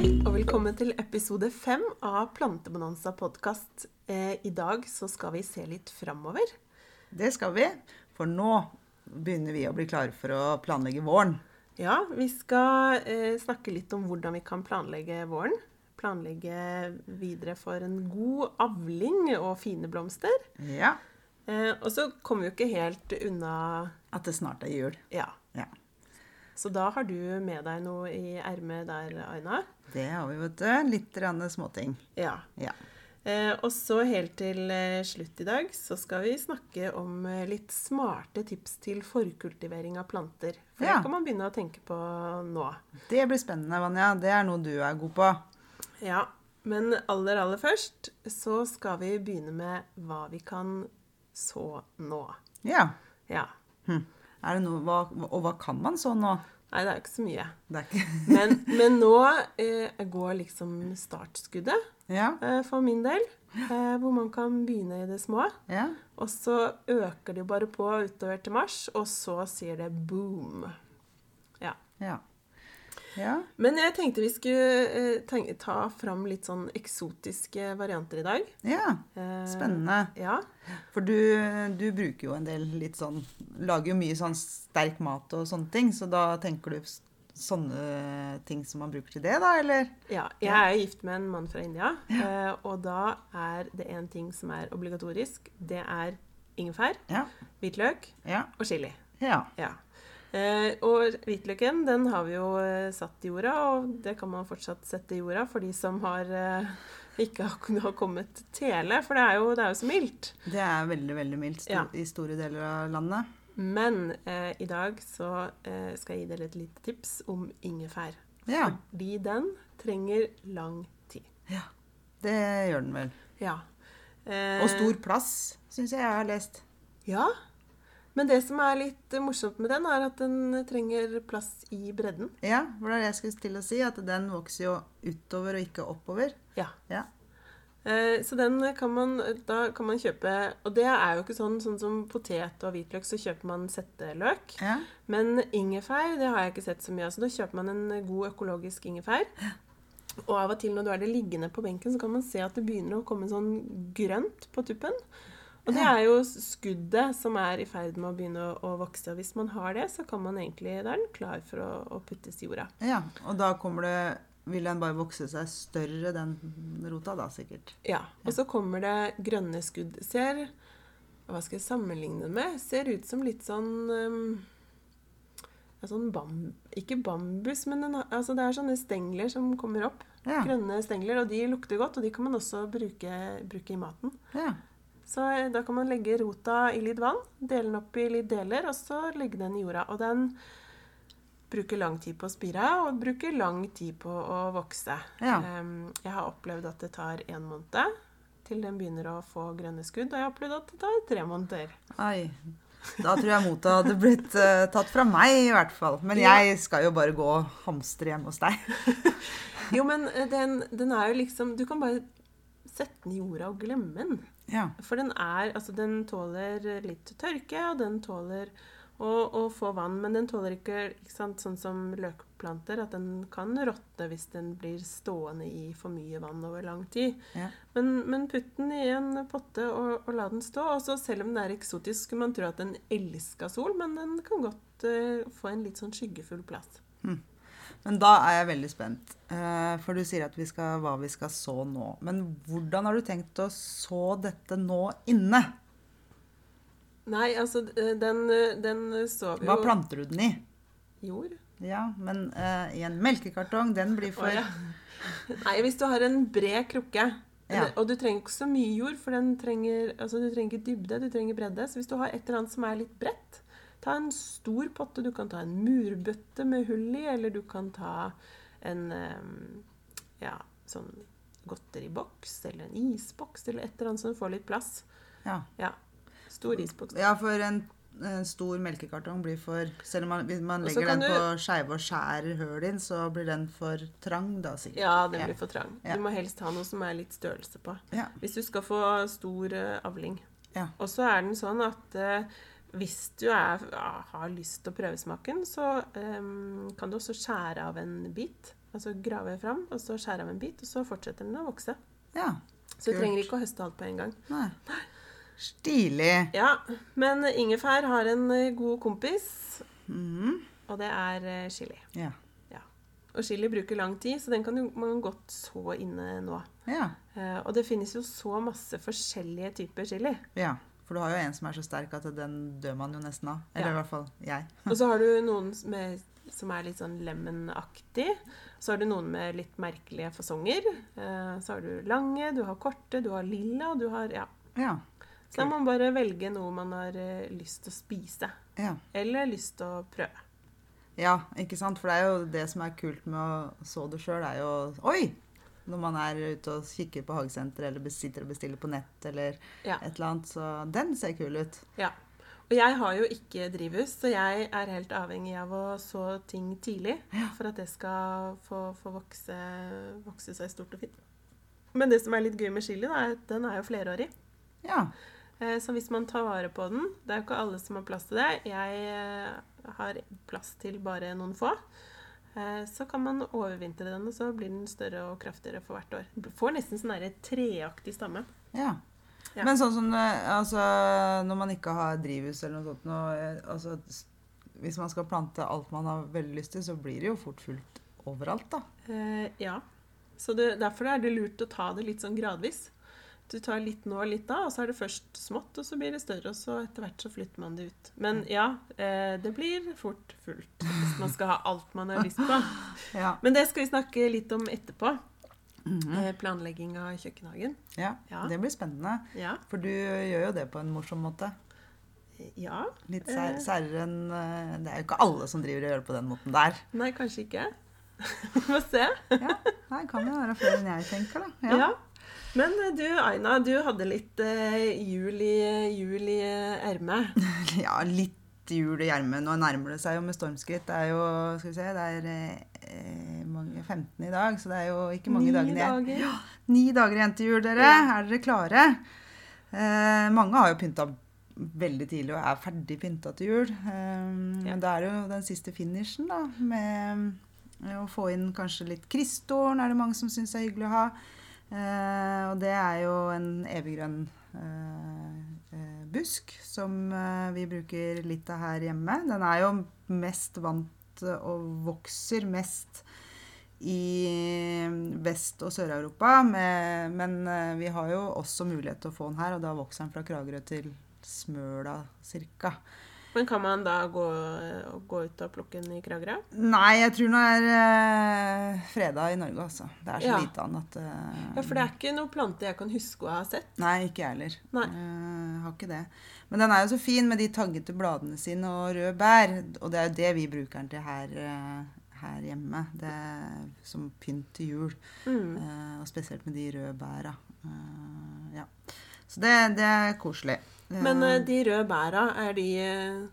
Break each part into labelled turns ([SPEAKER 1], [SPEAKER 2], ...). [SPEAKER 1] velkommen til episode fem av Plantebonanza podkast. Eh, I dag så skal vi se litt framover.
[SPEAKER 2] Det skal vi, for nå begynner vi å bli klare for å planlegge våren.
[SPEAKER 1] Ja, vi skal eh, snakke litt om hvordan vi kan planlegge våren. Planlegge videre for en god avling og fine blomster.
[SPEAKER 2] Ja,
[SPEAKER 1] Eh, og så kommer vi jo ikke helt unna
[SPEAKER 2] At det snart er jul.
[SPEAKER 1] Ja.
[SPEAKER 2] Ja,
[SPEAKER 1] Så da har du med deg noe i ermet der, Aina.
[SPEAKER 2] Det har vi, vet du. Litt rann småting.
[SPEAKER 1] Ja.
[SPEAKER 2] Ja.
[SPEAKER 1] Eh, og så helt til eh, slutt i dag så skal vi snakke om eh, litt smarte tips til forkultivering av planter. For
[SPEAKER 2] Ja.
[SPEAKER 1] det kan man begynne å tenke på nå.
[SPEAKER 2] Det blir spennende, Vanja. Det er noe du er god på.
[SPEAKER 1] Ja, Men aller, aller først så skal vi begynne med hva vi kan så nå.
[SPEAKER 2] Ja.
[SPEAKER 1] Ja.
[SPEAKER 2] Hm. Er det noe, hva, og hva kan man så nå?
[SPEAKER 1] Nei, det er jo ikke så mye.
[SPEAKER 2] Det er ikke
[SPEAKER 1] Men, men nå eh, går liksom startskuddet
[SPEAKER 2] Ja.
[SPEAKER 1] eh, for min del. Eh, hvor man kan begynne i det små.
[SPEAKER 2] ja.
[SPEAKER 1] Og så øker det jo bare på utover til mars, og så sier det boom. Ja.
[SPEAKER 2] Ja. ja.
[SPEAKER 1] Men jeg tenkte vi skulle eh, tenke, ta fram litt sånn eksotiske varianter i dag.
[SPEAKER 2] ja.
[SPEAKER 1] Eh,
[SPEAKER 2] Spennende.
[SPEAKER 1] Ja.
[SPEAKER 2] For du, du bruker jo en del litt sånn Lager jo mye sånn sterk mat og sånne ting, så da tenker du s- sånne ting som man bruker til det, da, eller?
[SPEAKER 1] ja. Jeg er gift med en mann fra India, eh, og da er det én ting som er obligatorisk. Det er ingefær,
[SPEAKER 2] Ja.
[SPEAKER 1] hvitløk
[SPEAKER 2] Ja.
[SPEAKER 1] og chili.
[SPEAKER 2] Ja.
[SPEAKER 1] Ja. Eh, og hvitløken den har vi jo eh, satt i jorda, og det kan man fortsatt sette i jorda for de som har, eh, ikke har, kun- har kommet tele, for det er jo, det er jo så mildt.
[SPEAKER 2] Det er veldig, veldig mildt sto-
[SPEAKER 1] Ja.
[SPEAKER 2] i store deler av landet.
[SPEAKER 1] Men eh, i dag så eh, skal jeg gi dere et lite tips om ingefær.
[SPEAKER 2] Ja.
[SPEAKER 1] Fordi den trenger lang tid.
[SPEAKER 2] ja. Det gjør den vel.
[SPEAKER 1] Ja. Eh,
[SPEAKER 2] Og stor plass, syns jeg jeg har lest.
[SPEAKER 1] Ja. Men det som er litt eh, morsomt med den, er at den trenger plass i bredden.
[SPEAKER 2] Ja, for det er det jeg skulle til å si, at den vokser jo utover og ikke oppover.
[SPEAKER 1] Ja.
[SPEAKER 2] Ja.
[SPEAKER 1] Eh, Så den kan man, da kan man kjøpe Og det er jo ikke sånn, sånn som potet og hvitløk, så kjøper man setteløk.
[SPEAKER 2] Ja.
[SPEAKER 1] Men ingefær det har jeg ikke sett så mye av, så da kjøper man en god økologisk ingefær. Og av og til når du er det liggende på benken, så kan man se at det begynner å komme sånn grønt på tuppen. Og det er jo skuddet som er i ferd med å begynne å, å vokse. Og hvis man har det, så kan man egentlig, da er den klar for å, å puttes i jorda.
[SPEAKER 2] ja. Og da kommer det Vil den bare vokse seg større, den rota, da sikkert.
[SPEAKER 1] Ja, og så kommer det grønne skudd. Ser, hva skal jeg sammenligne det med? Ser ut som litt sånn ehm, ja, sånn bam, Ikke bambus, men den, har- altså det er sånne stengler som kommer opp.
[SPEAKER 2] Ja.
[SPEAKER 1] Grønne stengler, og de lukter godt, og de kan man også bruke, bruke i maten.
[SPEAKER 2] Ja.
[SPEAKER 1] Så eh, da kan man legge rota i litt vann, dele den opp i litt deler, og så legge den i jorda. Og den bruker lang tid på å spire, og bruker lang tid på å vokse.
[SPEAKER 2] Ja.
[SPEAKER 1] Em, Jeg har opplevd at det tar én måned til den begynner å få grønne skudd, og jeg har opplevd at det tar tre måneder.
[SPEAKER 2] Ai. Da tror jeg motet hadde blitt eh, tatt fra meg, i hvert fall. Men jeg skal jo bare gå og hamstre hjemme hos deg.
[SPEAKER 1] Jo, men eh, den, den er jo liksom Du kan bare sette den i jorda og glemme den.
[SPEAKER 2] Ja.
[SPEAKER 1] For den er Altså, den tåler litt tørke, og den tåler å, å få vann, men den tåler ikke, ikke sant, sånn som løkplanter, at den kan råtne hvis den blir stående i for mye vann over lang tid.
[SPEAKER 2] Ja.
[SPEAKER 1] Men, men putt den i en potte og, og la den stå. Og så selv om den er eksotisk, skulle man tro at den elska sol, men den kan godt eh, få en litt sånn skyggefull plass.
[SPEAKER 2] Men da er jeg veldig spent. Eh, For du sier at vi skal, hva vi skal så nå. Men hvordan har du tenkt å så dette nå inne?
[SPEAKER 1] Nei, altså, eh, den, eh, den sover jo
[SPEAKER 2] Hva planter du den i?
[SPEAKER 1] Jord.
[SPEAKER 2] Ja, men eh, i en melkekartong, den blir for
[SPEAKER 1] Å, ja. Nei, hvis du har en bred krukke,
[SPEAKER 2] Ja.
[SPEAKER 1] og du trenger ikke så mye jord, for den trenger, altså, du trenger ikke dybde, du trenger bredde. Så hvis du har et eller annet som er litt bredt, ta en stor potte. Du kan ta en murbøtte med hull i, eller du kan ta en eh, ja, sånn godteriboks, eller en isboks, eller et eller annet som får litt plass.
[SPEAKER 2] Ja,
[SPEAKER 1] Ja, stor isboks.
[SPEAKER 2] ja for en, en stor melkekartong blir for Selv om man, hvis man
[SPEAKER 1] Og så
[SPEAKER 2] legger
[SPEAKER 1] kan
[SPEAKER 2] den
[SPEAKER 1] du-
[SPEAKER 2] på skeive og skjærer høl inn, så blir den for trang, da sikkert.
[SPEAKER 1] Ja, den blir for trang.
[SPEAKER 2] Ja.
[SPEAKER 1] Du må helst ha noe som er litt størrelse på.
[SPEAKER 2] Ja.
[SPEAKER 1] Hvis du skal få stor eh, avling.
[SPEAKER 2] Ja.
[SPEAKER 1] Og så er den sånn at eh, hvis du er, ah, ehm, har lyst til å prøve smaken, så eh, kan du også skjære av en bit. Altså grave fram, og så skjære av en bit, og så fortsetter den å vokse.
[SPEAKER 2] Ja.
[SPEAKER 1] Så
[SPEAKER 2] Kult.
[SPEAKER 1] du trenger ikke å høste alt på en gang.
[SPEAKER 2] Nei. Stilig.
[SPEAKER 1] Ja, Men ingefær har en eh, god kompis,
[SPEAKER 2] Mhm.
[SPEAKER 1] og det er eh, chili.
[SPEAKER 2] Ja.
[SPEAKER 1] Og chili bruker lang tid, så den kan jo man godt så inne nå.
[SPEAKER 2] ja.
[SPEAKER 1] Eh, Og det finnes jo så masse forskjellige typer chili.
[SPEAKER 2] Ja. For du har jo en som er så sterk at den dør man jo nesten av. Eller
[SPEAKER 1] Ja.
[SPEAKER 2] i hvert fall jeg.
[SPEAKER 1] Og så har du noen med, som er litt sånn lemonaktig. Så har du noen med litt merkelige fasonger. Eh, Så har du lange, du har korte, du har lilla, du har Ja.
[SPEAKER 2] Ja.
[SPEAKER 1] Så da må man bare velge noe man har eh, lyst til å spise.
[SPEAKER 2] Ja.
[SPEAKER 1] Eller lyst til å prøve.
[SPEAKER 2] Ja, ikke sant? For det er jo det som er kult med å så det sjøl, er jo Oi! Når man er ute og kikker på hagesenter, eller sitter og bestiller på nett, eller
[SPEAKER 1] Ja.
[SPEAKER 2] et eller annet. Så den ser kul ut.
[SPEAKER 1] Ja. Og jeg har jo ikke drivhus, så jeg er helt avhengig av å så ting tidlig for at det skal få, få vokse, vokse seg stort og fint. Men det som er litt gøy med chili, da, er at den er jo flerårig.
[SPEAKER 2] Ja.
[SPEAKER 1] Eh, Så hvis man tar vare på den Det er jo ikke alle som har plass til det. Jeg eh, har plass til bare noen få. Eh, Så kan man overvintre den, og så blir den større og kraftigere for hvert år. Du Får nesten sånn derre treaktig stamme.
[SPEAKER 2] ja.
[SPEAKER 1] Ja.
[SPEAKER 2] Men sånn som eh, altså, når man ikke har drivhus eller noe sånt noe, eh, altså, s- Hvis man skal plante alt man har veldig lyst til, så blir det jo fort fullt overalt, da.
[SPEAKER 1] Eh, ja. Så det, derfor er det lurt å ta det litt sånn gradvis. Du tar litt nå og litt da, og så er det først smått, og så blir det større, og så etter hvert så flytter man det ut. Men ja, eh, det blir fort fullt hvis man skal ha alt man har lyst på.
[SPEAKER 2] Ja.
[SPEAKER 1] Men det skal vi snakke litt om etterpå. Eh, planlegging av kjøkkenhagen.
[SPEAKER 2] ja.
[SPEAKER 1] Ja.
[SPEAKER 2] Det blir spennende.
[SPEAKER 1] Ja.
[SPEAKER 2] For du gjør jo det på en morsom måte.
[SPEAKER 1] ja.
[SPEAKER 2] Litt sær,
[SPEAKER 1] Eh.
[SPEAKER 2] særere enn eh, Det er jo ikke alle som driver og gjør det på den måten der.
[SPEAKER 1] Nei, kanskje ikke. Vi får se.
[SPEAKER 2] Ja, Nei, kan jo være flere enn jeg tenker, da.
[SPEAKER 1] Ja. Men eh, du, Aina, du hadde litt eh, jul i jul i, eh, ermet.
[SPEAKER 2] Ja, litt jul i hjermen. Nå nærmer det seg jo med stormskritt. Det er jo skal vi se, det er eh, mange, 15 i dag, så det er jo ikke mange
[SPEAKER 1] Ni
[SPEAKER 2] dagene igjen.
[SPEAKER 1] dager.
[SPEAKER 2] Ja, ni dager igjen til jul, dere.
[SPEAKER 1] Ja.
[SPEAKER 2] Er dere klare? Eh, mange har jo pynta veldig tidlig og er ferdig pynta til jul. Eh,
[SPEAKER 1] Ja.
[SPEAKER 2] Men da er det jo den siste finishen, da, med eh, å få inn kanskje litt kristtorn, er det mange som syns er hyggelig å ha. Eh, og det er jo en eviggrønn eh, eh, busk som eh, vi bruker litt av her hjemme. Den er jo mest vant eh, og vokser mest i Vest- og Sør-Europa, med- men eh, vi har jo også mulighet til å få den her, og da vokser den fra Kragerø til Smøla cirka.
[SPEAKER 1] Men kan man da gå, gå ut og plukke den i Kragerø?
[SPEAKER 2] Nei, jeg tror den er eh, freda i Norge, altså. Det er så
[SPEAKER 1] Ja.
[SPEAKER 2] lite av den at eh,
[SPEAKER 1] Ja, for det er ikke noen plante jeg kan huske å ha sett.
[SPEAKER 2] Nei, ikke jeg heller.
[SPEAKER 1] Nei.
[SPEAKER 2] Eh, har ikke det. Men den er jo så fin med de taggete bladene sine og røde bær. Og det er jo det vi bruker den til her, eh, her hjemme. Det er som pynt til jul.
[SPEAKER 1] Mm.
[SPEAKER 2] Eh, og spesielt med de røde bæra. Eh, ja. Så det, det er koselig. Eh,
[SPEAKER 1] Men eh, de røde bæra, er de eh,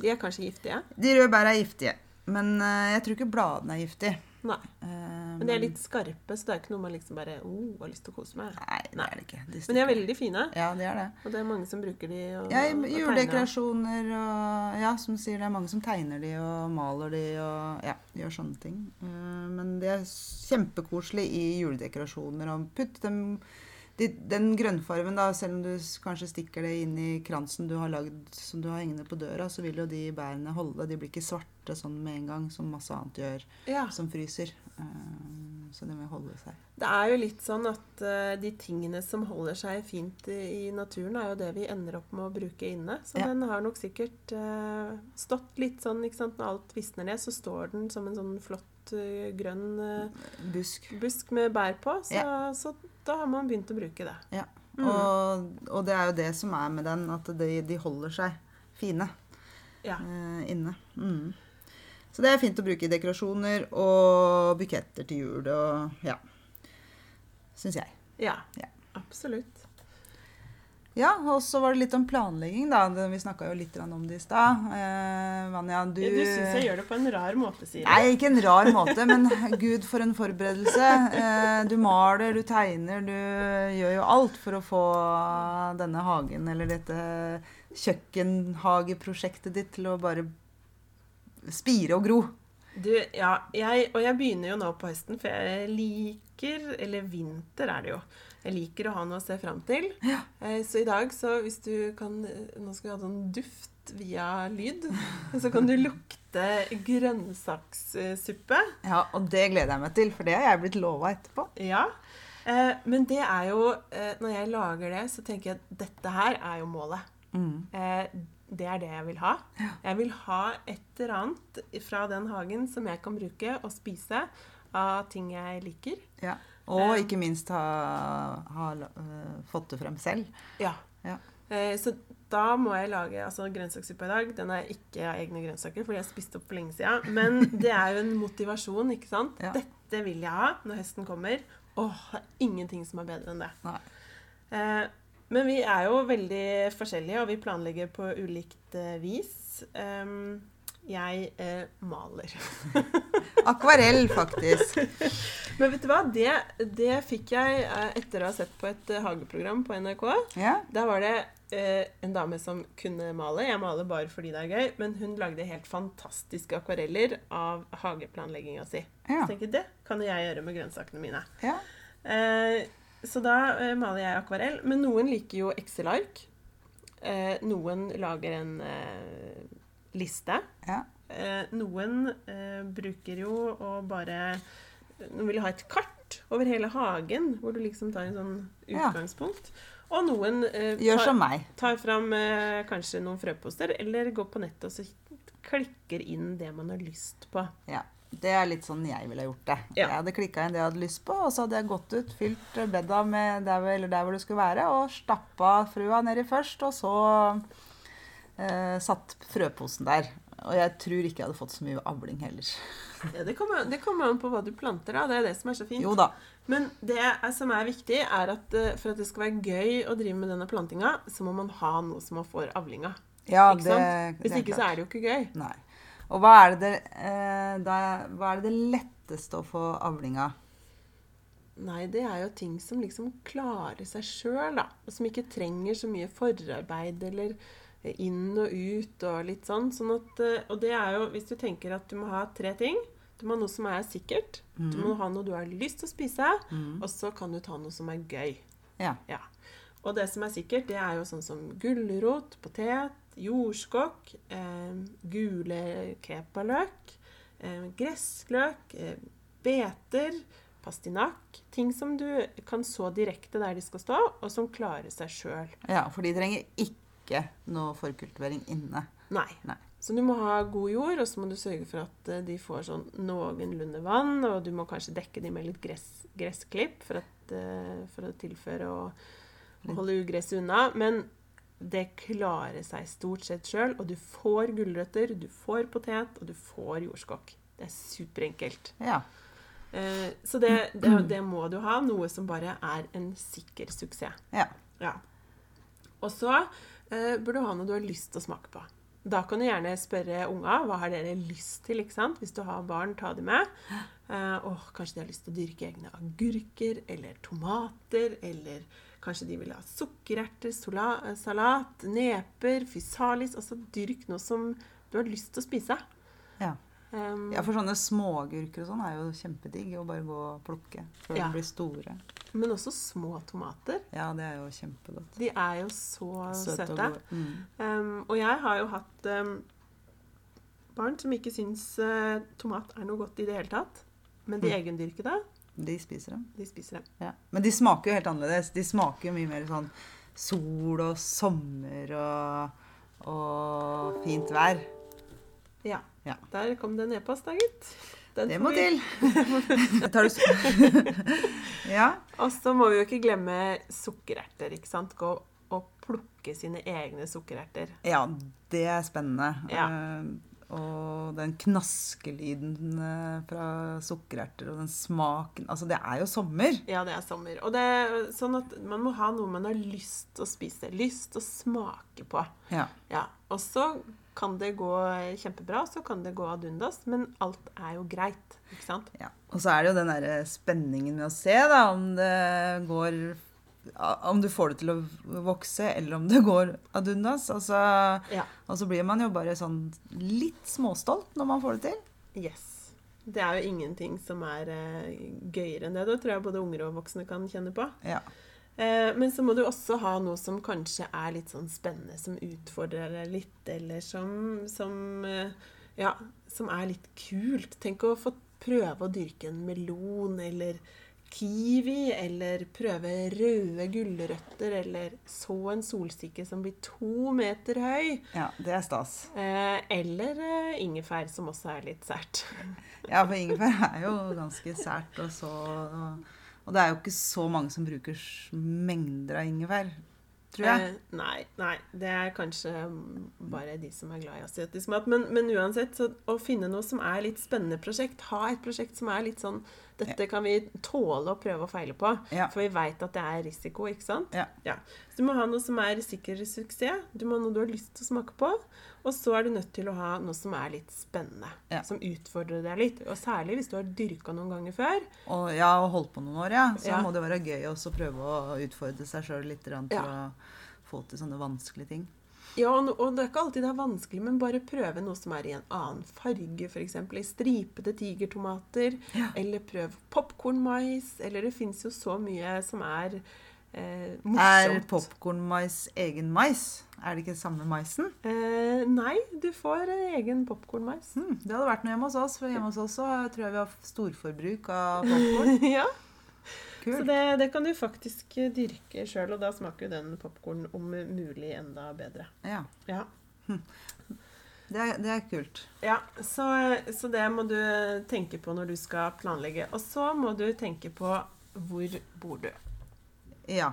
[SPEAKER 1] De er kanskje giftige?
[SPEAKER 2] de røde bæra er giftige. Men eh, jeg tror ikke bladene er giftige.
[SPEAKER 1] Nei.
[SPEAKER 2] Eh,
[SPEAKER 1] Men de er litt skarpe, så det er ikke noe man liksom bare oh, har lyst til å kose med.
[SPEAKER 2] Nei, det
[SPEAKER 1] Nei.
[SPEAKER 2] er det ikke. De
[SPEAKER 1] Men de er
[SPEAKER 2] stikker.
[SPEAKER 1] veldig fine,
[SPEAKER 2] Ja, de er det.
[SPEAKER 1] og det er mange som bruker de. Og,
[SPEAKER 2] Ja,
[SPEAKER 1] og- og
[SPEAKER 2] i-
[SPEAKER 1] tegner.
[SPEAKER 2] juledekorasjoner og Ja, som du sier, det er mange som tegner de og maler de og ja, gjør sånne ting. Eh, Men det er s- kjempekoselig i juledekorasjoner å putte dem de, Den grønnfarven, da, selv om du s- kanskje stikker det inn i kransen du har lagd som du har hengende på døra, så vil jo de bærene holde. De blir ikke svarte sånn med en gang, som masse annet gjør
[SPEAKER 1] Ja.
[SPEAKER 2] som fryser. Eh, Så de må holde seg.
[SPEAKER 1] Det er jo litt sånn at eh, de tingene som holder seg fint i, i naturen, er jo det vi ender opp med å bruke inne. Så
[SPEAKER 2] Ja.
[SPEAKER 1] den har nok sikkert eh, stått litt sånn, ikke sant, når alt visner ned, så står den som en sånn flott eh, grønn eh,
[SPEAKER 2] Busk.
[SPEAKER 1] busk med bær på. Så, så da har man begynt å bruke det.
[SPEAKER 2] Ja.
[SPEAKER 1] Mm.
[SPEAKER 2] Og, og det er jo det som er med den, at de, de holder seg fine
[SPEAKER 1] Ja.
[SPEAKER 2] eh, inne. Mm. Så det er fint å bruke i dekorasjoner og buketter til jul og ja. Syns jeg.
[SPEAKER 1] Ja.
[SPEAKER 2] Ja.
[SPEAKER 1] Absolutt.
[SPEAKER 2] Ja, og så var det litt om planlegging, da. Det- Vi snakka jo litt grann om det i stad. Eh, Vanja,
[SPEAKER 1] Du,
[SPEAKER 2] du
[SPEAKER 1] ja, du syns jeg gjør det på en rar måte, sier du.
[SPEAKER 2] Nei, ikke en rar måte, men gud, for en forberedelse. Eh, Du maler, du tegner, du gjør jo alt for å få denne hagen eller dette kjøkkenhageprosjektet ditt til å bare spire og gro.
[SPEAKER 1] Du, ja, jeg, og jeg begynner jo nå på høsten, for jeg liker Eller vinter er det jo. Jeg liker å ha noe å se fram til. Eh, Så i dag, så hvis du kan Nå skal vi ha sånn duft via lyd. Så kan du lukte grønnsakssuppe.
[SPEAKER 2] Ja, og det gleder jeg meg til, for det har jeg blitt lova etterpå.
[SPEAKER 1] Ja. Eh, Men det er jo eh, Når jeg lager det, så tenker jeg at dette her er jo målet. Eh, Det er det jeg vil ha. Jeg vil ha et eller annet fra den hagen som jeg kan bruke og spise av ting jeg liker.
[SPEAKER 2] Ja. Og ikke minst ha, ha eh, fått det frem selv.
[SPEAKER 1] Ja.
[SPEAKER 2] Ja.
[SPEAKER 1] Eh, Så da må jeg lage altså grønnsakssuppa i dag. Den er ikke av egne grønnsaker, fordi jeg spiste opp for lenge siden. Men det er jo en motivasjon, ikke sant?
[SPEAKER 2] Ja.
[SPEAKER 1] Dette vil jeg ha når høsten kommer. Åh, det er ingenting som er bedre enn det.
[SPEAKER 2] Nei.
[SPEAKER 1] Eh, Men vi er jo veldig forskjellige, og vi planlegger på ulikt eh, vis. Em, Jeg eh, maler.
[SPEAKER 2] Akvarell, faktisk.
[SPEAKER 1] Men vet du hva? Det, det fikk jeg eh, etter å ha sett på et eh, hageprogram på NRK.
[SPEAKER 2] Ja.
[SPEAKER 1] Der var det eh, en dame som kunne male. Jeg maler bare fordi det er gøy. Men hun lagde helt fantastiske akvareller av hageplanlegginga si.
[SPEAKER 2] Ja.
[SPEAKER 1] Så tenkte jeg, det kan jo jeg gjøre med grønnsakene mine.
[SPEAKER 2] ja.
[SPEAKER 1] Eh, så da eh, maler jeg akvarell. Men noen liker jo Excel-ark. Eh, noen lager en eh, liste.
[SPEAKER 2] Ja.
[SPEAKER 1] Eh, noen eh, bruker jo å bare Noen vil ha et kart over hele hagen, hvor du liksom tar en sånn
[SPEAKER 2] Ja.
[SPEAKER 1] utgangspunkt. Og noen eh,
[SPEAKER 2] Gjør
[SPEAKER 1] tar-
[SPEAKER 2] som meg.
[SPEAKER 1] Tar fram eh, kanskje noen frøposter, eller går på nettet og så klikker inn det man har lyst på.
[SPEAKER 2] Ja. Det er litt sånn jeg ville ha gjort det.
[SPEAKER 1] Ja.
[SPEAKER 2] Jeg hadde klikka inn det jeg hadde lyst på, og så hadde jeg gått ut, fylt bedda med der, hvor- eller der hvor det skulle være, og stappa frua nedi først, og så eh, satt frøposen der. Og jeg tror ikke jeg hadde fått så mye avling heller.
[SPEAKER 1] Ja, det kommer det kommer an på hva du planter, da. Det er det som er så fint.
[SPEAKER 2] Jo da.
[SPEAKER 1] Men det er, som er viktig, er at eh, for at det skal være gøy å drive med denne plantinga, så må man ha noe som man får avling av.
[SPEAKER 2] Ja,
[SPEAKER 1] Ikke
[SPEAKER 2] det,
[SPEAKER 1] sant? Hvis
[SPEAKER 2] det
[SPEAKER 1] ikke, så er det jo ikke gøy.
[SPEAKER 2] Nei. Og hva er det, det, eh, da, hva er det det letteste å få avling av?
[SPEAKER 1] Nei, det er jo ting som liksom klarer seg sjøl, da. Og som ikke trenger så mye forarbeid eller eh, inn og ut og litt sånn. sånn at, eh, og det er jo hvis du tenker at du må ha tre ting. Du må ha noe som er sikkert. Du må ha noe du har lyst til å spise.
[SPEAKER 2] Mm.
[SPEAKER 1] Og så kan du ta noe som er gøy.
[SPEAKER 2] Ja.
[SPEAKER 1] Ja. Og det som er sikkert, det er jo sånn som gulrot, potet, jordskokk, eh, gule kepaløk, eh, gressløk, eh, beter, pastinakk. Ting som du kan så direkte der de skal stå, og som klarer seg sjøl.
[SPEAKER 2] ja, for de trenger ikke noe forkultivering inne.
[SPEAKER 1] Nei.
[SPEAKER 2] Nei.
[SPEAKER 1] Så du må ha god jord, og så må du sørge for at eh, de får sånn noenlunde vann, og du må kanskje dekke dem med litt gress, gressklipp for, at, eh, for å tilføre og, og holde ugresset unna. Men det klarer seg stort sett sjøl, og du får gulrøtter, du får potet, og du får jordskokk. Det er superenkelt.
[SPEAKER 2] Ja.
[SPEAKER 1] Eh, Så det, det, det må du ha. Noe som bare er en sikker suksess.
[SPEAKER 2] ja.
[SPEAKER 1] Ja. Og så eh, burde du ha noe du har lyst til å smake på. Da kan du gjerne spørre unga hva har dere lyst til. ikke sant? Hvis du har barn, ta de med. Eh, åh, kanskje de har lyst til å dyrke egne agurker eller tomater. Eller kanskje de vil ha sukkererter, sola, eh, salat, neper, fysalis. Altså dyrk noe som du har lyst til å spise.
[SPEAKER 2] ja.
[SPEAKER 1] Um,
[SPEAKER 2] Ja, for sånne småagurker og sånn er jo kjempedigg å bare gå og plukke før
[SPEAKER 1] Ja.
[SPEAKER 2] de blir store.
[SPEAKER 1] Men også små tomater.
[SPEAKER 2] Ja, det er jo kjempegodt.
[SPEAKER 1] De er jo så søte.
[SPEAKER 2] og gode. Mm.
[SPEAKER 1] Um, og jeg har jo hatt um, barn som ikke syns eh, tomat er noe godt i det hele tatt. Men de
[SPEAKER 2] Mm.
[SPEAKER 1] egendyrkede,
[SPEAKER 2] De spiser dem.
[SPEAKER 1] de spiser dem.
[SPEAKER 2] Ja. Men de smaker jo helt annerledes. De smaker jo mye mer sånn sol og sommer og, og fint vær.
[SPEAKER 1] Ja.
[SPEAKER 2] Ja.
[SPEAKER 1] Der kom det en e-post, da, gitt. Den
[SPEAKER 2] Det
[SPEAKER 1] får
[SPEAKER 2] må
[SPEAKER 1] vi-
[SPEAKER 2] til! Tar du s- Ja.
[SPEAKER 1] Og så må vi jo ikke glemme sukkererter, ikke sant. Gå og plukke sine egne sukkererter.
[SPEAKER 2] ja, det er spennende.
[SPEAKER 1] Ja.
[SPEAKER 2] Eh, Og den knaskelyden eh, fra sukkererter og den smaken Altså, det er jo sommer.
[SPEAKER 1] Ja, det er sommer. Og det er sånn at man må ha noe man har lyst til å spise. Lyst til å smake på.
[SPEAKER 2] Ja.
[SPEAKER 1] Ja, og så kan det gå kjempebra, så kan det gå ad undas, men alt er jo greit, ikke sant?
[SPEAKER 2] Ja. Og så er det jo den der spenningen med å se da, om det går Om du får det til å vokse, eller om det går ad undas. Og så-
[SPEAKER 1] Ja.
[SPEAKER 2] og så blir man jo bare sånn litt småstolt når man får det til.
[SPEAKER 1] Yes. Det er jo ingenting som er eh, gøyere enn det. Det tror jeg både unger og voksne kan kjenne på.
[SPEAKER 2] Ja.
[SPEAKER 1] Eh, men så må du også ha noe som kanskje er litt sånn spennende, som utfordrer deg litt, eller som, som eh, Ja, som er litt kult. Tenk å få prøve å dyrke en melon eller kiwi, eller prøve røde gulrøtter, eller så en solsikke som blir to meter høy.
[SPEAKER 2] ja, det er stas.
[SPEAKER 1] Eh, eller eh, ingefær, som også er litt sært.
[SPEAKER 2] Ja, for ingefær er jo ganske sært. Og, så, og det er jo ikke så mange som bruker s- mengder av ingefær, tror jeg.
[SPEAKER 1] Eh, nei, nei. Det er kanskje bare de som er glad i asiatisk mat. Men, men uansett, så å finne noe som er litt spennende prosjekt, ha et prosjekt som er litt sånn Dette kan vi tåle å prøve og feile på.
[SPEAKER 2] Ja.
[SPEAKER 1] For vi veit at det er risiko, ikke sant?
[SPEAKER 2] Ja.
[SPEAKER 1] Så du må ha noe som er sikker suksess. Du må ha noe du har lyst til å smake på. Og så er du nødt til å ha noe som er litt spennende.
[SPEAKER 2] Ja.
[SPEAKER 1] Som utfordrer deg litt. Og særlig hvis du har dyrka noen ganger før.
[SPEAKER 2] Og, ja, og holdt på noen år, ja. Så
[SPEAKER 1] Eh. Ja.
[SPEAKER 2] må det være gøy også å prøve å utfordre seg sjøl litt grann, til
[SPEAKER 1] Ja.
[SPEAKER 2] å få til sånne vanskelige ting.
[SPEAKER 1] Ja, og no- og det er ikke alltid det er vanskelig, men bare prøve noe som er i en annen farge, f.eks. i stripete tigertomater, eller prøv popkornmais, eller det fins jo så mye som er eh,
[SPEAKER 2] Er
[SPEAKER 1] morsomt.
[SPEAKER 2] popkornmais egen mais? Er det ikke samme maisen?
[SPEAKER 1] Eh, nei, du får eh, egen popkornmais.
[SPEAKER 2] Hmm, det hadde vært noe hjemme hos oss, for hjemme hos oss så tror jeg vi har storforbruk av popkorn.
[SPEAKER 1] ja, så
[SPEAKER 2] Kult.
[SPEAKER 1] det, det kan du faktisk eh, dyrke sjøl, og da smaker jo den popkornen om mulig enda bedre.
[SPEAKER 2] Ja,
[SPEAKER 1] Ja.
[SPEAKER 2] det er, det er kult.
[SPEAKER 1] Ja, så, så det må du tenke på når du skal planlegge. Og så må du tenke på hvor bor du.
[SPEAKER 2] Ja.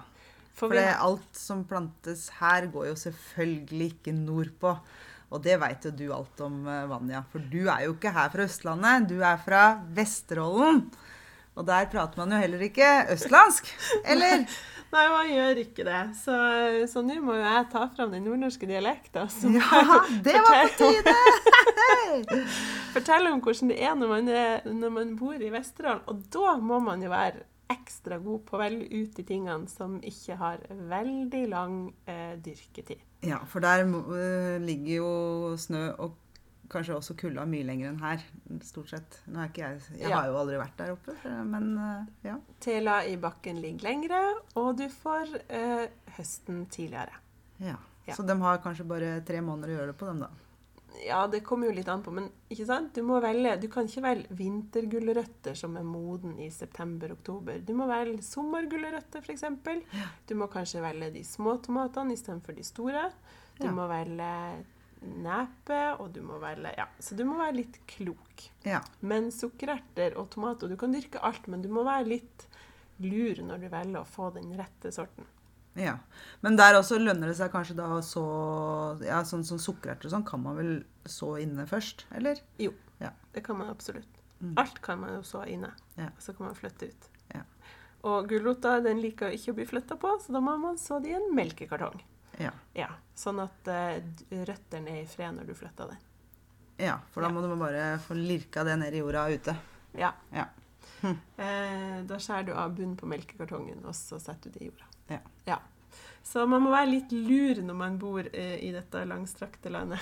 [SPEAKER 1] For
[SPEAKER 2] For
[SPEAKER 1] vi,
[SPEAKER 2] det, alt som plantes her, går jo selvfølgelig ikke nordpå. Og det veit jo du alt om, eh, Vanja. For du er jo ikke her fra Østlandet, du er fra Vesterålen. Og der prater man jo heller ikke østlandsk, eller?
[SPEAKER 1] nei, man gjør ikke det. Så, så nå må jo jeg ta fram den nordnorske dialekta. Så
[SPEAKER 2] Ja, det var på tide!
[SPEAKER 1] fortell om hvordan det er når man, er, når man bor i Vesterålen. Og da må man jo være ekstra god på å velge ut de tingene som ikke har veldig lang eh, dyrketid.
[SPEAKER 2] Ja, for der eh, ligger jo snø og kanskje også kulda mye lenger enn her, stort sett. Nå er ikke jeg Jeg
[SPEAKER 1] Ja.
[SPEAKER 2] har jo aldri vært der oppe, så- men eh, ja.
[SPEAKER 1] Tela i bakken ligger lengre, og du får eh, høsten tidligere.
[SPEAKER 2] ja.
[SPEAKER 1] Ja.
[SPEAKER 2] Så de har kanskje bare tre måneder å gjøre det på, dem da.
[SPEAKER 1] Ja, det kommer jo litt an på, men ikke sant? Du, må velge, du kan ikke velge vintergulrøtter som er moden i september-oktober. Du må velge sommergulrøtter, f.eks. Du må kanskje velge de små tomatene istedenfor de store. Du
[SPEAKER 2] Ja.
[SPEAKER 1] må velge nepe, og du må velge Ja, så du må være litt klok.
[SPEAKER 2] Ja.
[SPEAKER 1] Men sukkererter og tomater Du kan dyrke alt, men du må være litt lur når du velger å få den rette sorten.
[SPEAKER 2] Ja, Men der også lønner det seg kanskje da å så ja, Sånn som sukkererter og sånn, kan man vel så inne først, eller?
[SPEAKER 1] Jo,
[SPEAKER 2] Ja.
[SPEAKER 1] det kan man absolutt.
[SPEAKER 2] Mm.
[SPEAKER 1] Alt kan man jo så inne,
[SPEAKER 2] Ja.
[SPEAKER 1] og så kan man flytte ut.
[SPEAKER 2] Ja.
[SPEAKER 1] Og gulrota den liker jo ikke å bli flytta på, så da må man så det i en melkekartong.
[SPEAKER 2] Ja.
[SPEAKER 1] Ja, Sånn at eh, d- røttene er i fred når du flytter den.
[SPEAKER 2] ja for da
[SPEAKER 1] Ja.
[SPEAKER 2] må du bare få lirka det ned i jorda ute.
[SPEAKER 1] Ja.
[SPEAKER 2] Ja.
[SPEAKER 1] Eh, da skjærer du av bunnen på melkekartongen, og så setter du det i jorda.
[SPEAKER 2] Ja.
[SPEAKER 1] Så man må være litt lur når man bor eh, i dette langstrakte landet.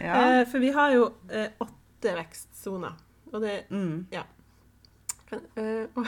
[SPEAKER 2] Ja.
[SPEAKER 1] Eh, for vi har jo eh, åtte vekstsoner. Og det
[SPEAKER 2] Mm.
[SPEAKER 1] Kan, eh, og,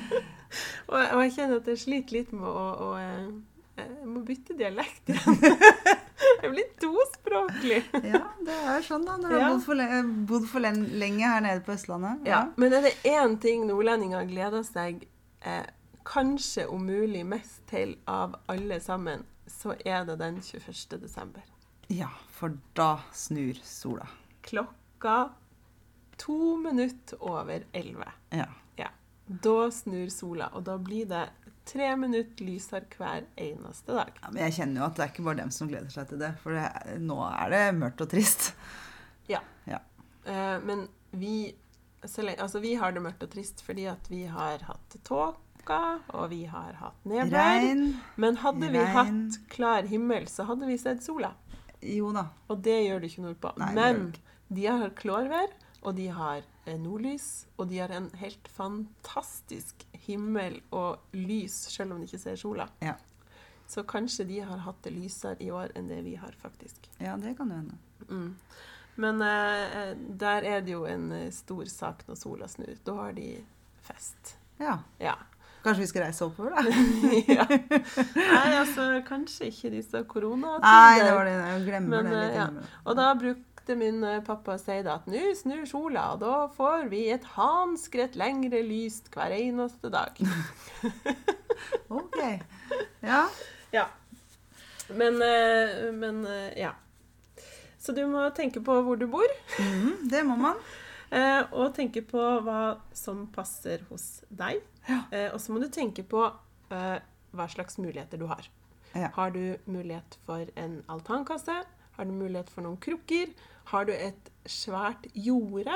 [SPEAKER 1] og, og jeg kjenner at jeg sliter litt med å, å eh, Jeg må bytte dialekt igjen. jeg blir tospråklig.
[SPEAKER 2] ja, det er sånn, da. Når du
[SPEAKER 1] Ja.
[SPEAKER 2] har bodd for, le bodd for len lenge her nede på Østlandet.
[SPEAKER 1] Ja, men er det én ting nordlendinger gleder seg eh, kanskje om mulig mest til av alle sammen, så er det den 21. desember.
[SPEAKER 2] ja, for da snur sola.
[SPEAKER 1] Klokka to minutter over elleve.
[SPEAKER 2] Ja.
[SPEAKER 1] Da snur sola, og da blir det tre minutter lysere hver eneste dag.
[SPEAKER 2] ja, Men jeg kjenner jo at det er ikke bare dem som gleder seg til det. For det, nå er det mørkt og trist.
[SPEAKER 1] Eh, men vi, så lenge, altså vi har det mørkt og trist fordi at vi har hatt tåka, og vi har hatt nedbør.
[SPEAKER 2] Regn.
[SPEAKER 1] Men hadde vi
[SPEAKER 2] regn.
[SPEAKER 1] hatt klar himmel, så hadde vi sett sola.
[SPEAKER 2] Jo da.
[SPEAKER 1] Og det gjør det ikke nordpå.
[SPEAKER 2] Nei, det gjør
[SPEAKER 1] men
[SPEAKER 2] det
[SPEAKER 1] de har klårvær, og de har eh, nordlys, og de har en helt fantastisk himmel og lys, selv om de ikke ser sola.
[SPEAKER 2] Ja.
[SPEAKER 1] Så kanskje de har hatt det lysere i år enn det vi har, faktisk.
[SPEAKER 2] Ja, det kan jo hende.
[SPEAKER 1] Mm. Men eh, der er det jo en eh, stor sak når sola snur. Da har de fest.
[SPEAKER 2] Ja.
[SPEAKER 1] Ja.
[SPEAKER 2] Kanskje vi skal reise oppover, da?
[SPEAKER 1] ja. Nei, altså kanskje ikke disse koronatider.
[SPEAKER 2] Nei, det var det. Jeg glemmer
[SPEAKER 1] Men,
[SPEAKER 2] det litt.
[SPEAKER 1] eh, ja.
[SPEAKER 2] innimellom.
[SPEAKER 1] Og da brukte min eh, pappa å si det at nå snur sola, og da får vi et hanskrett lengre lyst hver eneste dag.
[SPEAKER 2] Ok. Ja.
[SPEAKER 1] Ja. Men, eh, men eh, ja. Så du må tenke på hvor du bor,
[SPEAKER 2] Mhm, det må man.
[SPEAKER 1] eh, og tenke på hva som passer hos deg.
[SPEAKER 2] Ja.
[SPEAKER 1] Eh, Og så må du tenke på eh, hva slags muligheter du har.
[SPEAKER 2] Ja.
[SPEAKER 1] Har du mulighet for en altankasse? Har du mulighet for noen krukker? Har du et svært jorde?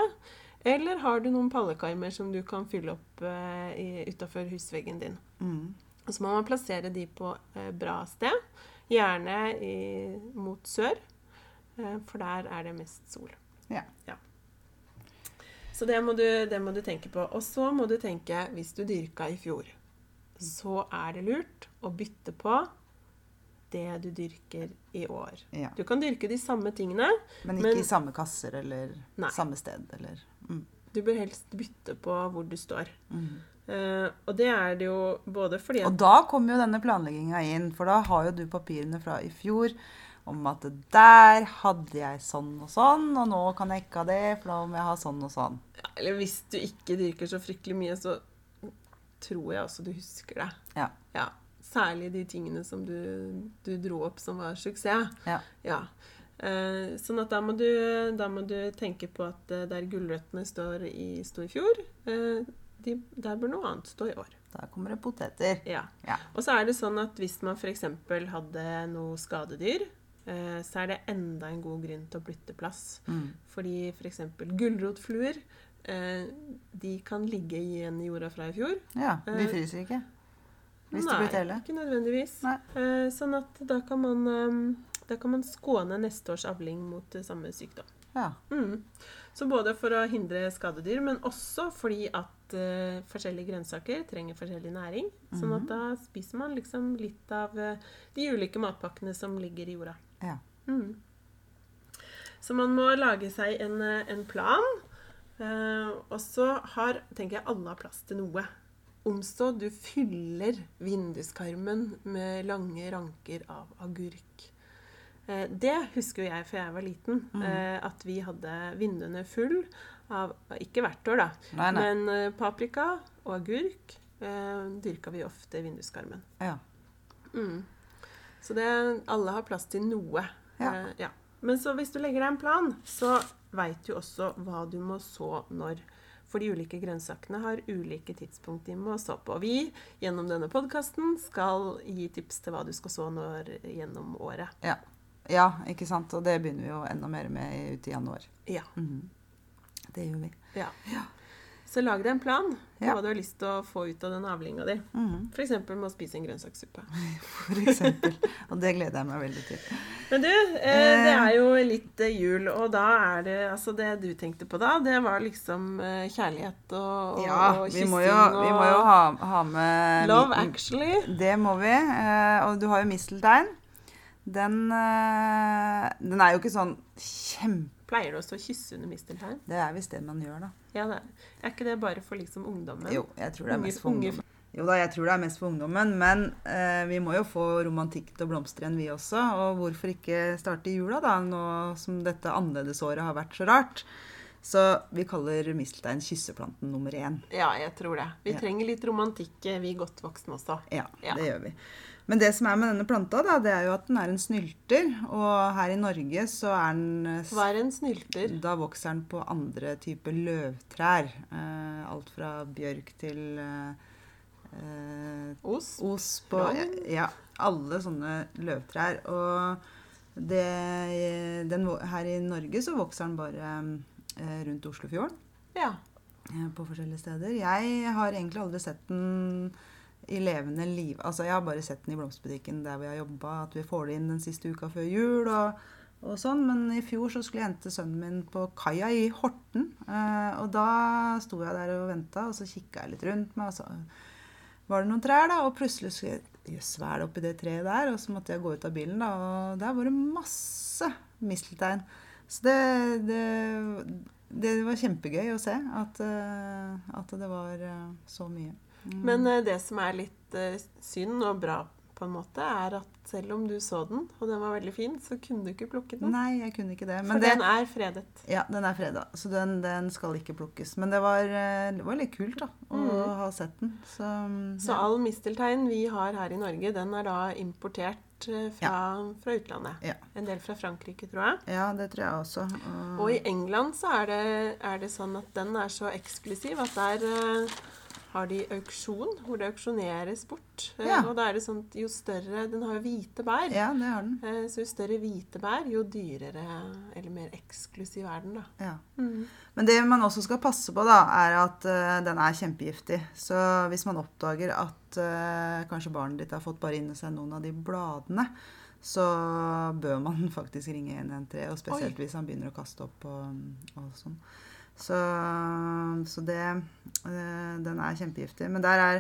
[SPEAKER 1] Eller har du noen pallekarmer som du kan fylle opp eh, utafor husveggen din?
[SPEAKER 2] Mhm.
[SPEAKER 1] Og så må man plassere de på eh, bra sted, gjerne i, mot sør, eh, for der er det mest sol.
[SPEAKER 2] Ja.
[SPEAKER 1] Så det må, du, det må du tenke på. Og så må du tenke, hvis du dyrka i fjor, så er det lurt å bytte på det du dyrker i år.
[SPEAKER 2] ja.
[SPEAKER 1] Du kan dyrke de samme tingene.
[SPEAKER 2] Men ikke
[SPEAKER 1] Men-
[SPEAKER 2] i samme kasser eller
[SPEAKER 1] Nei.
[SPEAKER 2] samme sted eller mhm.
[SPEAKER 1] Du bør helst bytte på hvor du står.
[SPEAKER 2] Mhm.
[SPEAKER 1] Eh, og det er det jo både fordi at
[SPEAKER 2] Og da kommer jo denne planlegginga inn, for da har jo du papirene fra i fjor om at der hadde jeg sånn og sånn, og nå kan jeg ikke ha det, for da må jeg ha sånn og sånn.
[SPEAKER 1] Eller hvis du ikke dyrker så fryktelig mye, så tror jeg også du husker det.
[SPEAKER 2] Ja.
[SPEAKER 1] Særlig de tingene som du, du dro opp som var suksess.
[SPEAKER 2] Ja.
[SPEAKER 1] Eh, sånn at da må, du, da må du tenke på at eh, der gulrøttene står i, sto i fjor, eh, de, der bør noe annet stå i år.
[SPEAKER 2] Da kommer det poteter.
[SPEAKER 1] Ja.
[SPEAKER 2] Ja.
[SPEAKER 1] Og så er det sånn at hvis man f.eks. hadde noe skadedyr, eh, så er det enda en god grunn til å bytte plass.
[SPEAKER 2] Mhm.
[SPEAKER 1] Fordi f.eks. For gulrotfluer eh, de kan ligge igjen i jorda fra i fjor.
[SPEAKER 2] Ja, de
[SPEAKER 1] Eh,
[SPEAKER 2] fryser ikke. Hvis de blir telle.
[SPEAKER 1] ikke nødvendigvis.
[SPEAKER 2] Nei.
[SPEAKER 1] Eh, sånn at da kan, man, eh, da kan man skåne neste års avling mot eh, samme sykdom.
[SPEAKER 2] Ja.
[SPEAKER 1] Mm. Så både for å hindre skadedyr, men også fordi at eh, forskjellige grønnsaker trenger forskjellig næring. Sånn at
[SPEAKER 2] Mhm.
[SPEAKER 1] da spiser man liksom litt av eh, de ulike matpakkene som ligger i jorda.
[SPEAKER 2] Ja.
[SPEAKER 1] Mm. Så man må lage seg en, eh, en plan. Eh, og så har, tenker jeg, alle har plass til noe. Om så du fyller vinduskarmen med lange ranker av agurk. Eh, det husker jo jeg fra jeg var liten,
[SPEAKER 2] Mm.
[SPEAKER 1] eh, at vi hadde vinduene full av Ikke hvert år, da,
[SPEAKER 2] Nei, nei.
[SPEAKER 1] men eh, paprika og agurk eh, dyrka vi ofte i vinduskarmen.
[SPEAKER 2] Ja.
[SPEAKER 1] Mm. Så det, alle har plass til noe.
[SPEAKER 2] Ja.
[SPEAKER 1] Eh, ja. Men så hvis du legger deg en plan, så veit du også hva du må så når. For de ulike grønnsakene har ulike tidspunkt de må så på. Og vi gjennom denne podkasten skal gi tips til hva du skal så når gjennom året.
[SPEAKER 2] ja, ikke sant. Og det begynner vi jo enda mer med ute i januar.
[SPEAKER 1] Ja.
[SPEAKER 2] Mhm. Det gjør vi.
[SPEAKER 1] ja. Så lag deg en plan på
[SPEAKER 2] Ja.
[SPEAKER 1] hva du har lyst til å få ut av den avlinga di.
[SPEAKER 2] Mhm,
[SPEAKER 1] F.eks. med å spise en grønnsakssuppe.
[SPEAKER 2] For eksempel. Og det gleder jeg meg veldig til.
[SPEAKER 1] Men du, eh, det er jo litt eh, jul, og da er det Altså, det du tenkte på da, det var liksom eh, kjærlighet og, og,
[SPEAKER 2] Ja,
[SPEAKER 1] og
[SPEAKER 2] vi
[SPEAKER 1] kyssing
[SPEAKER 2] må jo, vi må jo ha, ha med
[SPEAKER 1] Love actually.
[SPEAKER 2] Det må vi. eh, Og du har jo misteltein. Den, eh, den er jo ikke sånn kjempe...
[SPEAKER 1] Pleier du også å kysse under misteltein?
[SPEAKER 2] Det er visst det man gjør, da.
[SPEAKER 1] Ja, det er. er ikke det bare for liksom ungdommen?
[SPEAKER 2] Jo, jeg tror det er
[SPEAKER 1] Unge-
[SPEAKER 2] mest for
[SPEAKER 1] unge-
[SPEAKER 2] ungdommen. Jo da, jeg tror det er mest for ungdommen, men eh, vi må jo få romantikk til å blomstre igjen, vi også. Og hvorfor ikke starte i jula, da, nå som dette annerledesåret har vært så rart. Så vi kaller misteltein kysseplanten nummer én.
[SPEAKER 1] Ja, jeg tror det. Vi
[SPEAKER 2] Ja.
[SPEAKER 1] trenger litt romantikk, eh, vi godt voksne også.
[SPEAKER 2] Ja,
[SPEAKER 1] Ja.
[SPEAKER 2] det gjør vi. Men det som er med denne planta, da, det er jo at den er en snylter. Og her i Norge så er den eh, s-
[SPEAKER 1] Vær en snylter.
[SPEAKER 2] Da vokser den på andre typer løvtrær. Eh, alt fra bjørk til eh, eh,
[SPEAKER 1] Os.
[SPEAKER 2] os på
[SPEAKER 1] Gran.
[SPEAKER 2] Ja, alle sånne løvtrær. Og det, den, vo- her i Norge så vokser den bare eh, rundt Oslofjorden
[SPEAKER 1] Ja.
[SPEAKER 2] eh, på forskjellige steder. Jeg har egentlig aldri sett den i levende liv. Altså, jeg har bare sett den i blomsterbutikken der vi har jobba, at vi får det inn den siste uka før jul og, og sånn. Men i fjor så skulle jeg hente sønnen min på kaia i Horten. eh, og da sto jeg der og venta, og så kikka jeg litt rundt meg, og så var det noen trær, da. Og plutselig så jeg, Jøss, hva er det oppi det treet der? Og så måtte jeg gå ut av bilen, da. Og der var det masse misteltein. Så det, det, det var kjempegøy å se at, eh, at det var eh, så mye. Mm.
[SPEAKER 1] Men eh, det som er litt eh, synd og bra, på en måte, er at selv om du så den, og den var veldig fin, så kunne du ikke plukke den.
[SPEAKER 2] Nei, jeg kunne ikke det.
[SPEAKER 1] For
[SPEAKER 2] Men det,
[SPEAKER 1] den er fredet.
[SPEAKER 2] ja, den er freda, så den, den skal ikke plukkes. Men det var, eh, det var litt kult da, å
[SPEAKER 1] Mm.
[SPEAKER 2] ha sett den. Så,
[SPEAKER 1] Så
[SPEAKER 2] ja.
[SPEAKER 1] all misteltein vi har her i Norge, den er da importert eh, fra, fra utlandet.
[SPEAKER 2] Ja.
[SPEAKER 1] En del fra Frankrike, tror jeg.
[SPEAKER 2] ja, det tror jeg også. Og-
[SPEAKER 1] Og i England så er det, er det sånn at den er så eksklusiv at der eh, har de auksjon, hvor det auksjoneres bort. Eh,
[SPEAKER 2] Ja.
[SPEAKER 1] Og da er det sånn at jo større Den har jo hvite bær.
[SPEAKER 2] Ja, det har den.
[SPEAKER 1] Eh, Så jo større hvite bær, jo dyrere eller mer eksklusiv er den, da.
[SPEAKER 2] Ja. Men det man også skal passe på, da, er at eh, den er kjempegiftig. Så hvis man oppdager at eh, kanskje barnet ditt har fått bare inni seg noen av de bladene, så bør man faktisk ringe 113, og spesielt hvis han begynner å kaste opp og, og sånn. Så, så det eh, Den er kjempegiftig. Men, der er,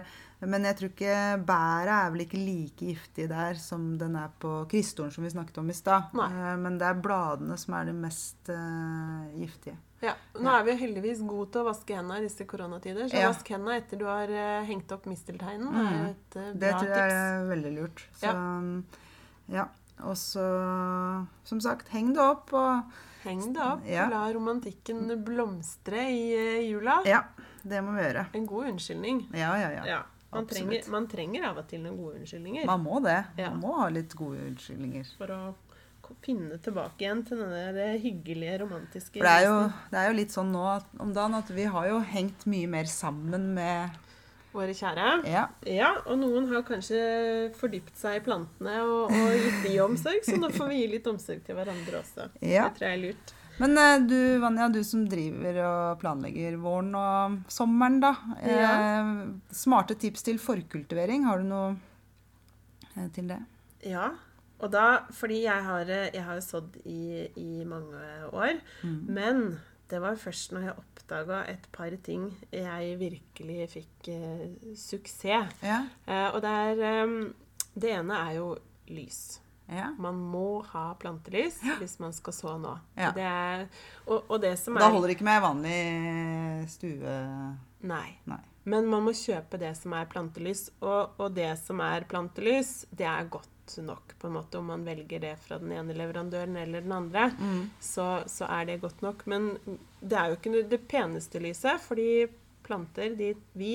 [SPEAKER 2] men jeg tror ikke bæret er vel ikke like giftig der som den er på kristoren som vi snakket om i stad.
[SPEAKER 1] Nei.
[SPEAKER 2] Eh, Men det er bladene som er de mest eh, giftige.
[SPEAKER 1] Ja, Nå er vi jo heldigvis gode til å vaske hendene i disse koronatider, så
[SPEAKER 2] Ja.
[SPEAKER 1] vask hendene etter du har eh, hengt opp mistelteinen. er jo
[SPEAKER 2] Mm.
[SPEAKER 1] et eh,
[SPEAKER 2] Det
[SPEAKER 1] bra
[SPEAKER 2] tror jeg
[SPEAKER 1] tips.
[SPEAKER 2] er veldig lurt. Så, mm, ja. Og så, som sagt, heng det opp og
[SPEAKER 1] Heng det opp.
[SPEAKER 2] Ja. Mm.
[SPEAKER 1] La romantikken blomstre i eh, jula.
[SPEAKER 2] Ja, det må vi gjøre.
[SPEAKER 1] En god unnskyldning.
[SPEAKER 2] Ja, ja, ja.
[SPEAKER 1] Ja. Man,
[SPEAKER 2] absolutt.
[SPEAKER 1] trenger, man trenger av og til noen gode unnskyldninger
[SPEAKER 2] Man må det.
[SPEAKER 1] Ja.
[SPEAKER 2] Man må ha litt gode unnskyldninger.
[SPEAKER 1] for å ko- finne tilbake igjen til den der eh, hyggelige, romantiske
[SPEAKER 2] For det er, jo, det er jo litt sånn nå at, om dagen at vi har jo hengt mye mer sammen med
[SPEAKER 1] reisen, våre kjære.
[SPEAKER 2] Ja.
[SPEAKER 1] Ja, og noen har kanskje fordypt seg i plantene og, og gitt de omsorg, så nå får vi gi litt omsorg til hverandre også.
[SPEAKER 2] ja.
[SPEAKER 1] Det tror jeg er lurt.
[SPEAKER 2] Men eh, du, Vanja, du som driver og planlegger våren og sommeren, da.
[SPEAKER 1] Ja.
[SPEAKER 2] Eh, smarte tips til forkultivering. Har du noe eh, til det?
[SPEAKER 1] Ja, og da, fordi jeg har, eh, jeg har jo sådd i, i mange år,
[SPEAKER 2] Mm.
[SPEAKER 1] men det var først når jeg oppdaga et par ting jeg virkelig fikk eh, suksess.
[SPEAKER 2] Ja.
[SPEAKER 1] Eh, og det er eh, Det ene er jo lys.
[SPEAKER 2] ja.
[SPEAKER 1] Man må ha plantelys hvis man skal så nå.
[SPEAKER 2] Ja.
[SPEAKER 1] Det er, og, og det som
[SPEAKER 2] Da
[SPEAKER 1] er
[SPEAKER 2] holder det ikke med vanlig eh, stue...
[SPEAKER 1] Nei.
[SPEAKER 2] Nei.
[SPEAKER 1] Men man må kjøpe det som er plantelys, og, og det som er plantelys, det er godt nok, på en måte. Om man velger det fra den ene leverandøren eller den andre, så, så er det godt nok. Men det er jo ikke noe- det peneste lyset, fordi planter, de, vi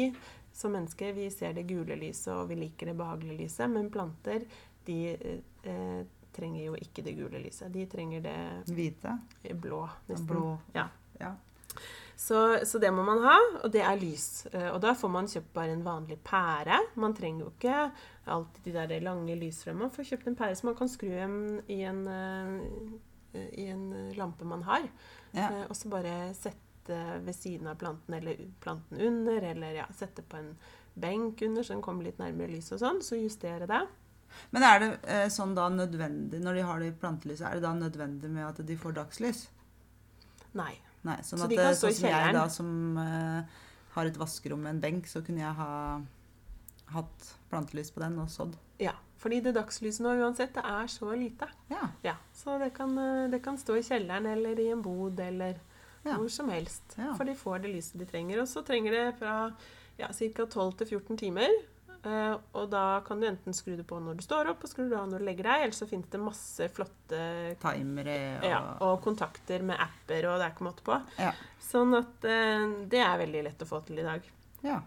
[SPEAKER 1] som mennesker, vi ser det gule lyset, og vi liker det behagelige lyset, men planter, de eh, eh, trenger jo ikke det gule lyset. De trenger det
[SPEAKER 2] Hvite.
[SPEAKER 1] blå, nesten.
[SPEAKER 2] Blå.
[SPEAKER 1] Ja.
[SPEAKER 2] Ja.
[SPEAKER 1] Så, så det må man ha, og det er lys. Eh, Og da får man kjøpt bare en vanlig pære. Man trenger jo ikke alltid de der lange lysfrøene. Man får kjøpt en pære som man kan skru en, i, en, eh, i en lampe man har.
[SPEAKER 2] Ja.
[SPEAKER 1] Eh, Og så bare sette ved siden av planten, eller u- planten under, eller ja, sette på en benk under, så den kommer litt nærmere lyset og sånn. Så justere det.
[SPEAKER 2] Men er det eh, sånn da nødvendig, når de har det i plantelyset, er det da nødvendig med at de får dagslys?
[SPEAKER 1] Nei.
[SPEAKER 2] Nei, sånn
[SPEAKER 1] Så
[SPEAKER 2] at
[SPEAKER 1] de kan
[SPEAKER 2] eh,
[SPEAKER 1] stå i
[SPEAKER 2] sånn som jeg
[SPEAKER 1] kjelleren?
[SPEAKER 2] da som eh, har et vaskerom med en benk, så kunne jeg ha hatt plantelys på den og sådd.
[SPEAKER 1] Ja. Fordi det dagslyset nå uansett, det er så lite.
[SPEAKER 2] Ja.
[SPEAKER 1] Ja, så det kan, eh, det kan stå i kjelleren eller i en bod eller
[SPEAKER 2] Ja.
[SPEAKER 1] hvor som helst.
[SPEAKER 2] Ja.
[SPEAKER 1] For de får det lyset de trenger. Og så trenger det fra ja, ca. 12 til 14 timer. Eh, og da kan du enten skru det på når du står opp, og skru det av når du legger deg. Eller så finnes det masse flotte
[SPEAKER 2] Timere eh, og
[SPEAKER 1] ja, og kontakter med apper, og det er ikke måte på.
[SPEAKER 2] Ja.
[SPEAKER 1] Sånn at eh, det er veldig lett å få til i dag.
[SPEAKER 2] ja.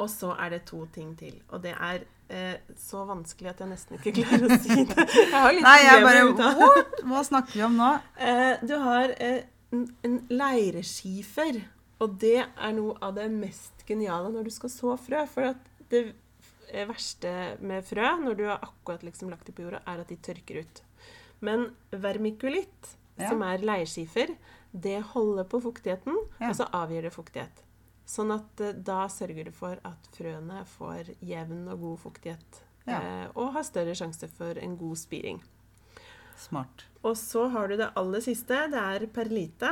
[SPEAKER 1] Og så er det to ting til. Og det er eh, så vanskelig at jeg nesten ikke klarer å si det. Jeg har litt
[SPEAKER 2] Nei, jeg bare
[SPEAKER 1] problemer ut av det.
[SPEAKER 2] What? Hva snakker vi om nå?
[SPEAKER 1] Eh, du har eh, en, en leireskifer, og det er noe av det mest geniale når du skal så frø. For at det eh, verste med frø, når du har akkurat liksom lagt det på jorda, er at de tørker ut. Men vermikulitt,
[SPEAKER 2] Ja.
[SPEAKER 1] som er leirskifer, det holder på fuktigheten,
[SPEAKER 2] Ja.
[SPEAKER 1] og så avgjør det fuktighet. Sånn at eh, da sørger du for at frøene får jevn og god fuktighet,
[SPEAKER 2] Ja.
[SPEAKER 1] eh, og har større sjanse for en god spiring.
[SPEAKER 2] Smart.
[SPEAKER 1] Og så har du det aller siste. Det er perlite.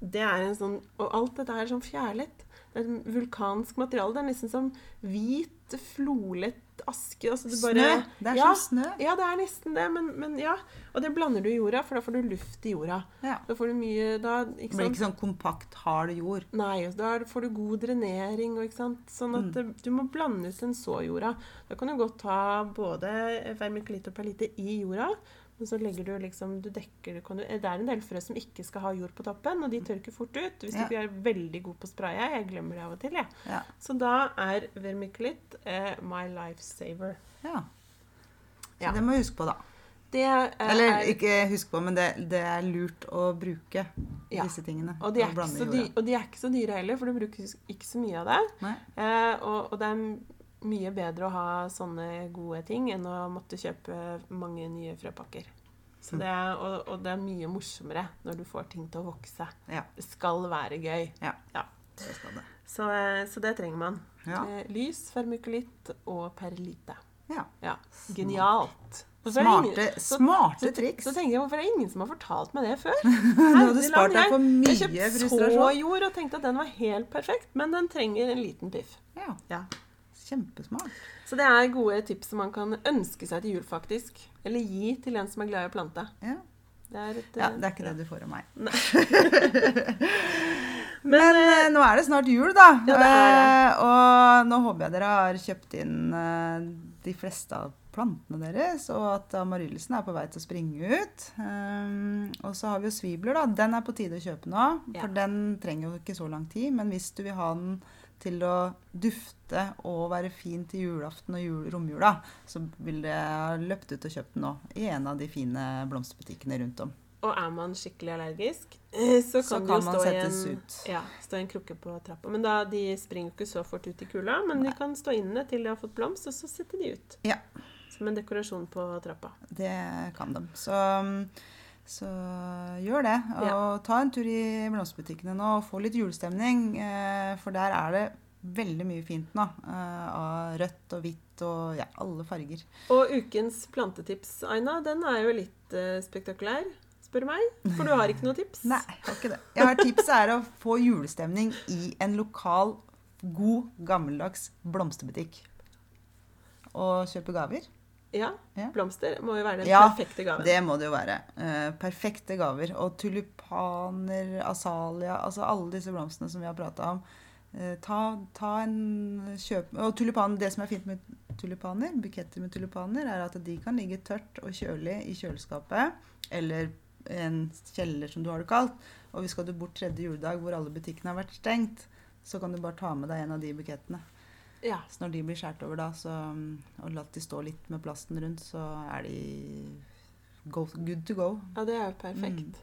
[SPEAKER 1] Det er en sånn Og alt dette er sånn fjærlett. Det er et vulkansk materiale. Det er nesten som hvit, flolett aske. Altså, du
[SPEAKER 2] Snø!
[SPEAKER 1] bare,
[SPEAKER 2] Det er
[SPEAKER 1] ja,
[SPEAKER 2] som snø.
[SPEAKER 1] Ja, det er nesten det, men, men ja. Og det blander du i jorda, for da får du luft i jorda.
[SPEAKER 2] Ja.
[SPEAKER 1] Da får du mye da,
[SPEAKER 2] Det
[SPEAKER 1] ikke
[SPEAKER 2] blir
[SPEAKER 1] sant?
[SPEAKER 2] ikke sånn kompakt, hard jord.
[SPEAKER 1] Nei, og da er- får du god drenering og ikke sant. Sånn
[SPEAKER 2] Mm.
[SPEAKER 1] at eh, du må blande sensorjorda. Da kan du godt ha både vermikulitt og perlitte i jorda. Men så legger du liksom du dekker, du kan, du- Det er en del frø som ikke skal ha jord på toppen, og de tørker fort ut. Hvis
[SPEAKER 2] Mm. Ja.
[SPEAKER 1] du ikke er veldig god på å spraye. Jeg glemmer det av og til, jeg.
[SPEAKER 2] Ja.
[SPEAKER 1] Så da er vermikulitt eh, my life saver.
[SPEAKER 2] ja. Så
[SPEAKER 1] Ja.
[SPEAKER 2] det må vi huske på, da.
[SPEAKER 1] Det er,
[SPEAKER 2] Eller ikke huske på, men det, det er lurt å bruke
[SPEAKER 1] Ja.
[SPEAKER 2] disse tingene.
[SPEAKER 1] og de, er
[SPEAKER 2] å
[SPEAKER 1] ikke
[SPEAKER 2] blande
[SPEAKER 1] så
[SPEAKER 2] jorda.
[SPEAKER 1] dyre, og de er ikke så dyre heller, for du bruker ikke så mye av det.
[SPEAKER 2] Nei.
[SPEAKER 1] Eh, og, og det er m- mye bedre å ha sånne gode ting enn å måtte kjøpe mange nye frøpakker. Så det er, og, og det er mye morsommere når du får ting til å vokse.
[SPEAKER 2] Ja.
[SPEAKER 1] Det skal være gøy.
[SPEAKER 2] Det skal det.
[SPEAKER 1] Så, eh, så det trenger man.
[SPEAKER 2] Ja.
[SPEAKER 1] Eh, Lys, fermikulitt og perlite.
[SPEAKER 2] ja.
[SPEAKER 1] Ja, Genialt. Hvorfor er det ingen-
[SPEAKER 2] Smarte, smarte
[SPEAKER 1] så-
[SPEAKER 2] triks.
[SPEAKER 1] Så tenker jeg, Hvorfor er det ingen som har fortalt meg det før?
[SPEAKER 2] Nå har du
[SPEAKER 1] Herreland,
[SPEAKER 2] spart deg for mye
[SPEAKER 1] Jeg kjøpte så
[SPEAKER 2] frustrasjon.
[SPEAKER 1] jord og tenkte at den var helt perfekt, men den trenger en liten piff.
[SPEAKER 2] Ja,
[SPEAKER 1] Ja.
[SPEAKER 2] kjempesmart.
[SPEAKER 1] Så det er gode tips som man kan ønske seg til jul, faktisk. Eller gi til en som er glad i å plante.
[SPEAKER 2] Ja.
[SPEAKER 1] Det er et,
[SPEAKER 2] ja,
[SPEAKER 1] eh,
[SPEAKER 2] det er ikke det du får av meg.
[SPEAKER 1] Nei.
[SPEAKER 2] Men eh, nå er det snart jul, da.
[SPEAKER 1] Ja, det er
[SPEAKER 2] Eh, og nå håper jeg dere har kjøpt inn eh, de fleste av plantene deres, og at amaryllisen er på vei til å springe ut. Um, og så har vi jo svibler, da. Den er på tide å kjøpe nå.
[SPEAKER 1] Ja.
[SPEAKER 2] For den trenger jo ikke så lang tid. Men hvis du vil ha den til å dufte og være fin til julaften og jul, romjula, så vil det ha løpt ut og kjøpt den nå. I en av de fine blomsterbutikkene rundt om.
[SPEAKER 1] Og er man skikkelig allergisk, eh, så
[SPEAKER 2] Så
[SPEAKER 1] kan,
[SPEAKER 2] kan
[SPEAKER 1] det
[SPEAKER 2] man
[SPEAKER 1] jo stå i,
[SPEAKER 2] settes
[SPEAKER 1] en,
[SPEAKER 2] ut.
[SPEAKER 1] ja, stå i en krukke på trappa. Men da, de springer jo ikke så fort ut i kula, men de kan stå inne til de har fått blomst, og så setter de ut.
[SPEAKER 2] Ja.
[SPEAKER 1] Som en dekorasjon på trappa.
[SPEAKER 2] Det kan de. Så, så gjør det. Og
[SPEAKER 1] Ja.
[SPEAKER 2] ta en tur i blomsterbutikkene nå og få litt julestemning. eh, For der er det veldig mye fint nå. eh, Av rødt og hvitt og ja, alle farger.
[SPEAKER 1] Og ukens plantetips, Aina, den er jo litt eh, spektakulær, spør du meg. For du har ikke noe tips.
[SPEAKER 2] Nei, jeg har ikke det. Jeg har tipset er å få julestemning i en lokal, god, gammeldags blomsterbutikk. Og kjøpe gaver.
[SPEAKER 1] Ja,
[SPEAKER 2] Ja.
[SPEAKER 1] Blomster må jo være den
[SPEAKER 2] Ja,
[SPEAKER 1] perfekte gaven.
[SPEAKER 2] Det må det jo være. Eh, perfekte gaver. Og tulipaner, asalia, altså alle disse blomstene som vi har prata om. Eh, ta, ta en kjøp... Og tulipaner, det som er fint med tulipaner, buketter med tulipaner, er at de kan ligge tørt og kjølig i kjøleskapet eller en kjeller, som du har det kalt. Og hvis skal du bort tredje juledag hvor alle butikkene har vært stengt, så kan du bare ta med deg en av de bukettene.
[SPEAKER 1] Ja.
[SPEAKER 2] Så når de blir skåret over, da, så, um, og latt de stå litt med plasten rundt, så er de go, good to go.
[SPEAKER 1] Ja, det er jo perfekt.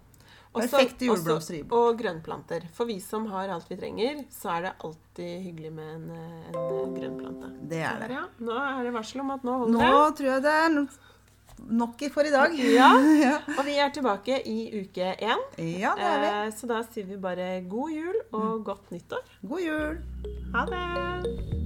[SPEAKER 1] Også-
[SPEAKER 2] Perfekte
[SPEAKER 1] også-
[SPEAKER 2] juleblomster Mm. i bok.
[SPEAKER 1] Og grønnplanter. For vi som har alt vi trenger, så er det alltid hyggelig med en, eh, en grønnplante.
[SPEAKER 2] Det er det.
[SPEAKER 1] Ja, nå er det varsel om at nå holder
[SPEAKER 2] Nå tror jeg det er no- nok i- for i dag.
[SPEAKER 1] det. Ja,
[SPEAKER 2] ja.
[SPEAKER 1] og vi er tilbake i uke én.
[SPEAKER 2] ja, det er vi. Mm.
[SPEAKER 1] Eh, Så da sier vi bare god jul og godt nyttår.
[SPEAKER 2] God jul!
[SPEAKER 1] Ha det!